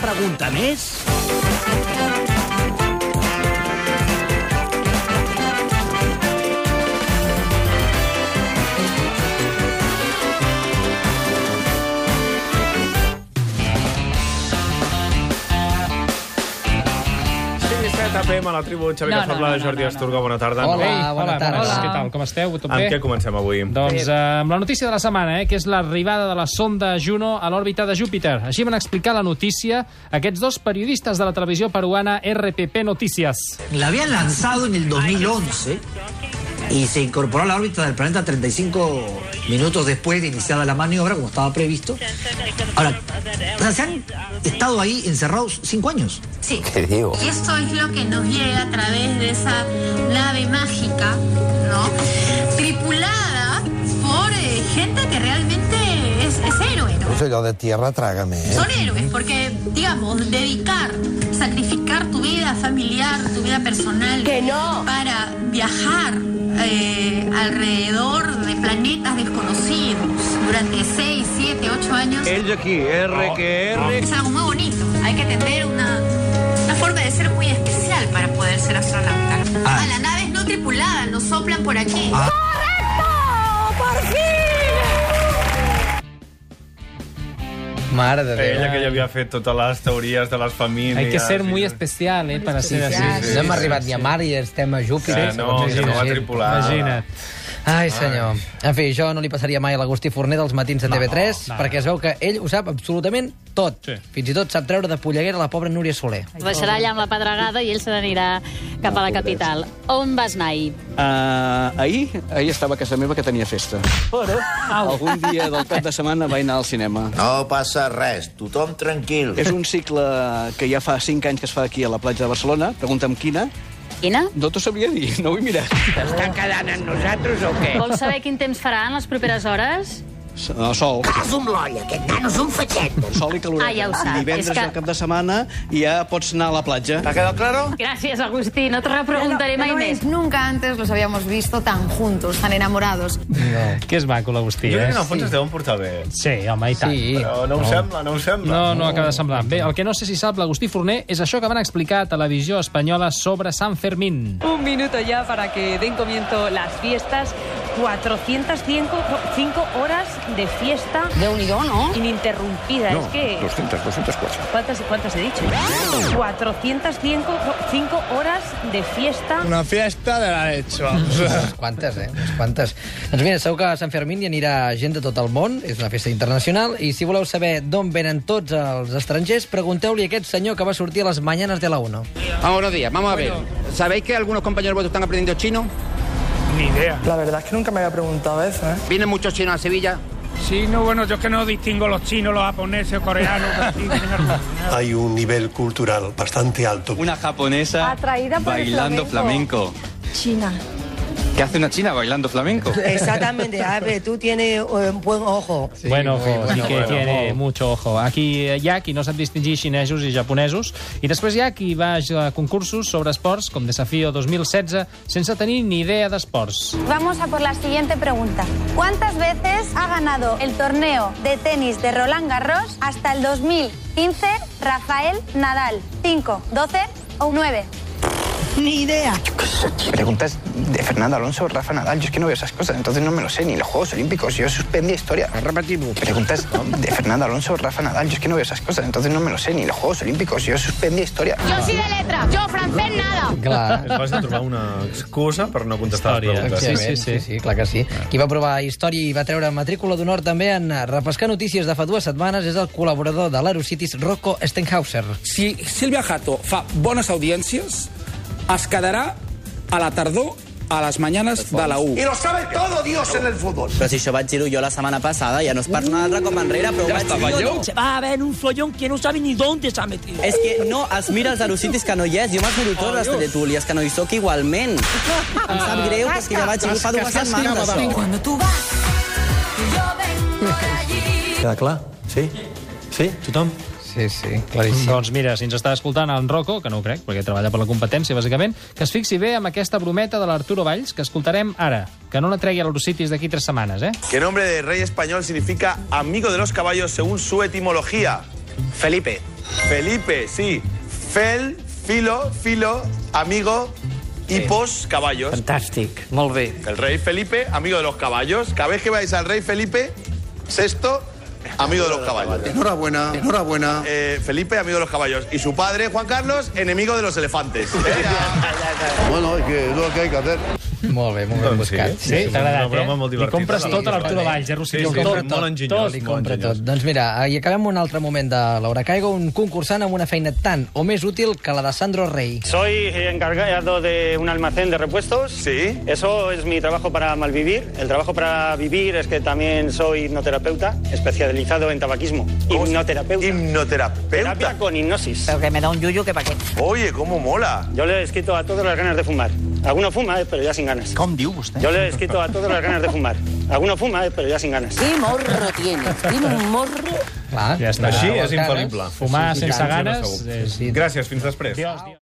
pregunta més? APM ah, a la tribu Xavi no, No, no, Cazabla, no, no, no, Jordi no, no. Asturga, bona tarda. Hola, Ei, Ah, bona hola, tarda. Bones, Hola. què tal? Com esteu? Tot Amb bé? què comencem avui? Doncs eh, amb la notícia de la setmana, eh, que és l'arribada de la sonda Juno a l'òrbita de Júpiter. Així van explicar la notícia aquests dos periodistes de la televisió peruana RPP Noticias. La habían lanzado en el 2011 y se incorporó a la órbita del planeta 35 minutos después de iniciada la maniobra, como estaba previsto. Ahora, o sea, se han estado ahí encerrados cinco años. Sí. ¿Qué digo? Y esto es lo que nos llega a través de esa nave mágica, ¿no? Tripulada por eh, gente que realmente es, es héroe, ¿no? Eso yo de tierra trágame, ¿eh? Son héroes porque, digamos, dedicar, sacrificar tu vida familiar, tu vida personal para viajar eh, alrededor de planetas desconocidos durante 6, 7, 8 años Ells aquí, R Oh, que R. es algo muy bonito. Hay que tener una, una forma de ser muy especial para poder ser astronauta. Ah. A la nave es no tripulada, nos soplan por aquí. Ah. Mare de Déu. Ella que ja havia fet totes les teories de les famílies... Hay que ser i- muy especial, eh, para ser Sí, así. sí, no hem arribat ni a Mart i estem a Júpiter. Ah, no, segons que no la va gent. tripular. Imagina't. Ah, Ai, senyor. En fi, jo no li passaria mai a l'Agustí Forner dels matins de TV3, no, no. perquè es veu que ell ho sap absolutament tot. Sí. Fins i tot sap treure de polleguera la pobra Núria Soler. Es baixarà allà amb la pedregada i ell se n'anirà cap a la capital. On vas anar ahir? Uh, ahir, ahir estava a casa meva que tenia festa. Però algun dia del cap de setmana vaig anar al cinema. No passa res, tothom tranquil. És un cicle que ja fa 5 anys que es fa aquí a la platja de Barcelona. Pregunta'm quina. Quina? No t'ho sabria dir, no ho he mirat. Vols saber quin temps farà en les properes hores? S- No, sol. És un l'oll, aquest nano és un fetxet. Sol i caloreta. Ah, ja ho sap. Divendres És que- del cap de setmana ja pots anar a la platja. ¿Te ha quedado claro? Gràcies, Agustí. No te repreguntaré mai més. Nunca antes los habíamos visto tan juntos, tan enamorados. Que és maco, l'Agustí, Jo crec eh? que en el fons es deuen portar bé. Sí, home, i tant. Sí. Però no ho sembla, no ho sembla. No, no acaba de semblar. Bé, el que no sé si sap l'Agustí Forner és això que van explicar a Televisió Espanyola sobre San Fermín. Un minuto ya para que den comienzo las fiestas. 405 cinco horas de fiesta Déu-n'hi-do, no? ininterrumpida. es que... 200, 204. ¿Cuántas, ¿Cuántas he dicho? 405 cinco horas de fiesta. Una fiesta de la leche, vamos. Unes quantes, eh? Unes quantes. Doncs mira, segur que a Sant Fermín hi anirà gent de tot el món, és una festa internacional, i si voleu saber d'on venen tots els estrangers, pregunteu-li a aquest senyor que va sortir a les mañanes de la 1. Ah, buenos días, vamos a ver. ¿Sabéis que algunos compañeros vuestros están aprendiendo chino? La verdad es que nunca me había preguntado eso, ¿eh? ¿Vienen muchos chinos a Sevilla? Hay un nivel cultural bastante alto. Una japonesa Atraída por el bailando flamenco. China. ¿Qué hace una china bailando flamenco? Exactamente, a ver, tú tienes un buen ojo. Sí, bueno, ojo, muy sí bueno, que bueno, tiene ojo. mucho ojo. Aquí eh, hi ha qui no sap distingir xinesos i japonesos, i després hi ha qui va a concursos sobre esports, com Desafío 2016, sense tenir ni idea d'esports. Vamos a por la siguiente pregunta. ¿Cuántas veces ha ganado el torneo de tenis de Roland Garros hasta el 2015 Rafael Nadal? ¿5, 12 o 9? Ni idea. Preguntas de Fernando Alonso, Rafa Nadal. Yo es que no veo esas cosas, entonces no me lo sé, ni los Juegos Olímpicos. Yo suspendí historia. Preguntas de Fernando Alonso, Rafa Nadal. Yo es que no veo esas cosas, entonces no me lo sé, ni los Juegos Olímpicos. Yo suspendí historia. Yo sí de letra, yo francés nada. Clar. Es vas a trobar una excusa per no contestar Història. les preguntes. Sí, sí, Sí, sí, sí. sí, sí, clar que sí. Qui va provar història i va treure matrícula d'honor també en repescar notícies de fa dues setmanes és el col·laborador de l'Aerocities, Rocco Stenhauser. Si Silvia Jato fa bones audiències, es quedarà a la tardor a les mañanes de la U. lo sabe todo Dios en el fútbol. Però si això vaig dir-ho jo la setmana passada, ja no es parla d'altre com enrere, però ja està, veieu? Se va a ver un follón que no sabe ni dónde se ha metido. És que no, es mira els aerocitis que no hi és. Jo me'ls miro tots, les teletúlies, que no hi sóc igualment. Em sap greu, però és que ja vaig dir fa dues setmanes. això. Cuando tú vas, yo vengo de allí. Queda clar? Sí? Sí? Tothom? Sí, sí, claríssim. Doncs mira, si ens està escoltant en Rocco, que no ho crec, perquè treballa per la competència, bàsicament, que es fixi bé amb aquesta brometa de l'Arturo Valls, que escoltarem ara, que no la tregui a l'Eurocities d'aquí tres setmanes, eh? Que nombre de rey español significa amigo de los caballos según su etimología. Felipe. Felipe, sí. Fel, filo, filo, amigo, hipos, caballos. Fantàstic, molt bé. El rey Felipe, amigo de los caballos. Cada vez que vais al rey Felipe, sexto, amigo de los caballos. Enhorabuena, enhorabuena. Eh, Felipe, amigo de los caballos. Y su padre, Juan Carlos, enemigo de los elefantes. Bueno, es que es lo que hay que hacer. Molt bé, molt ben Doncs sí. buscat. Sí, t'ha agradat, Una broma eh? molt Li divertida. compres tot a l'Arturo molt bé. Valls, eh, Rosselló? Sí, sí, Tot, molt enginyós, Li molt compra enginyós. tot. Doncs mira, eh, i acabem un altre moment de l'Hora Caigo, un concursant amb una feina tan o més útil que la de Sandro Rey. Soy encargado de un almacén de repuestos. Sí. Eso es mi trabajo para malvivir. El trabajo para vivir es que también soy hipnoterapeuta, especializado en tabaquismo. Hipnoterapeuta. Hipnoterapeuta. Terapia con hipnosis. Però que me da un yuyu que pa què. Oye, cómo mola. Yo le he escrito a todas las ganas de fumar. Alguno fuma, eh, pero ya sin ganas. ¿Cómo usted? Yo le he escrito a todas las ganas de fumar. Alguno fuma, eh, pero ya sin ganas. Qué morro tienes, tiene un morro. Clar, Ja està. Així és infal·lible. Fumar Sí, sí, sense sí, ganes segur. Gràcies, fins després.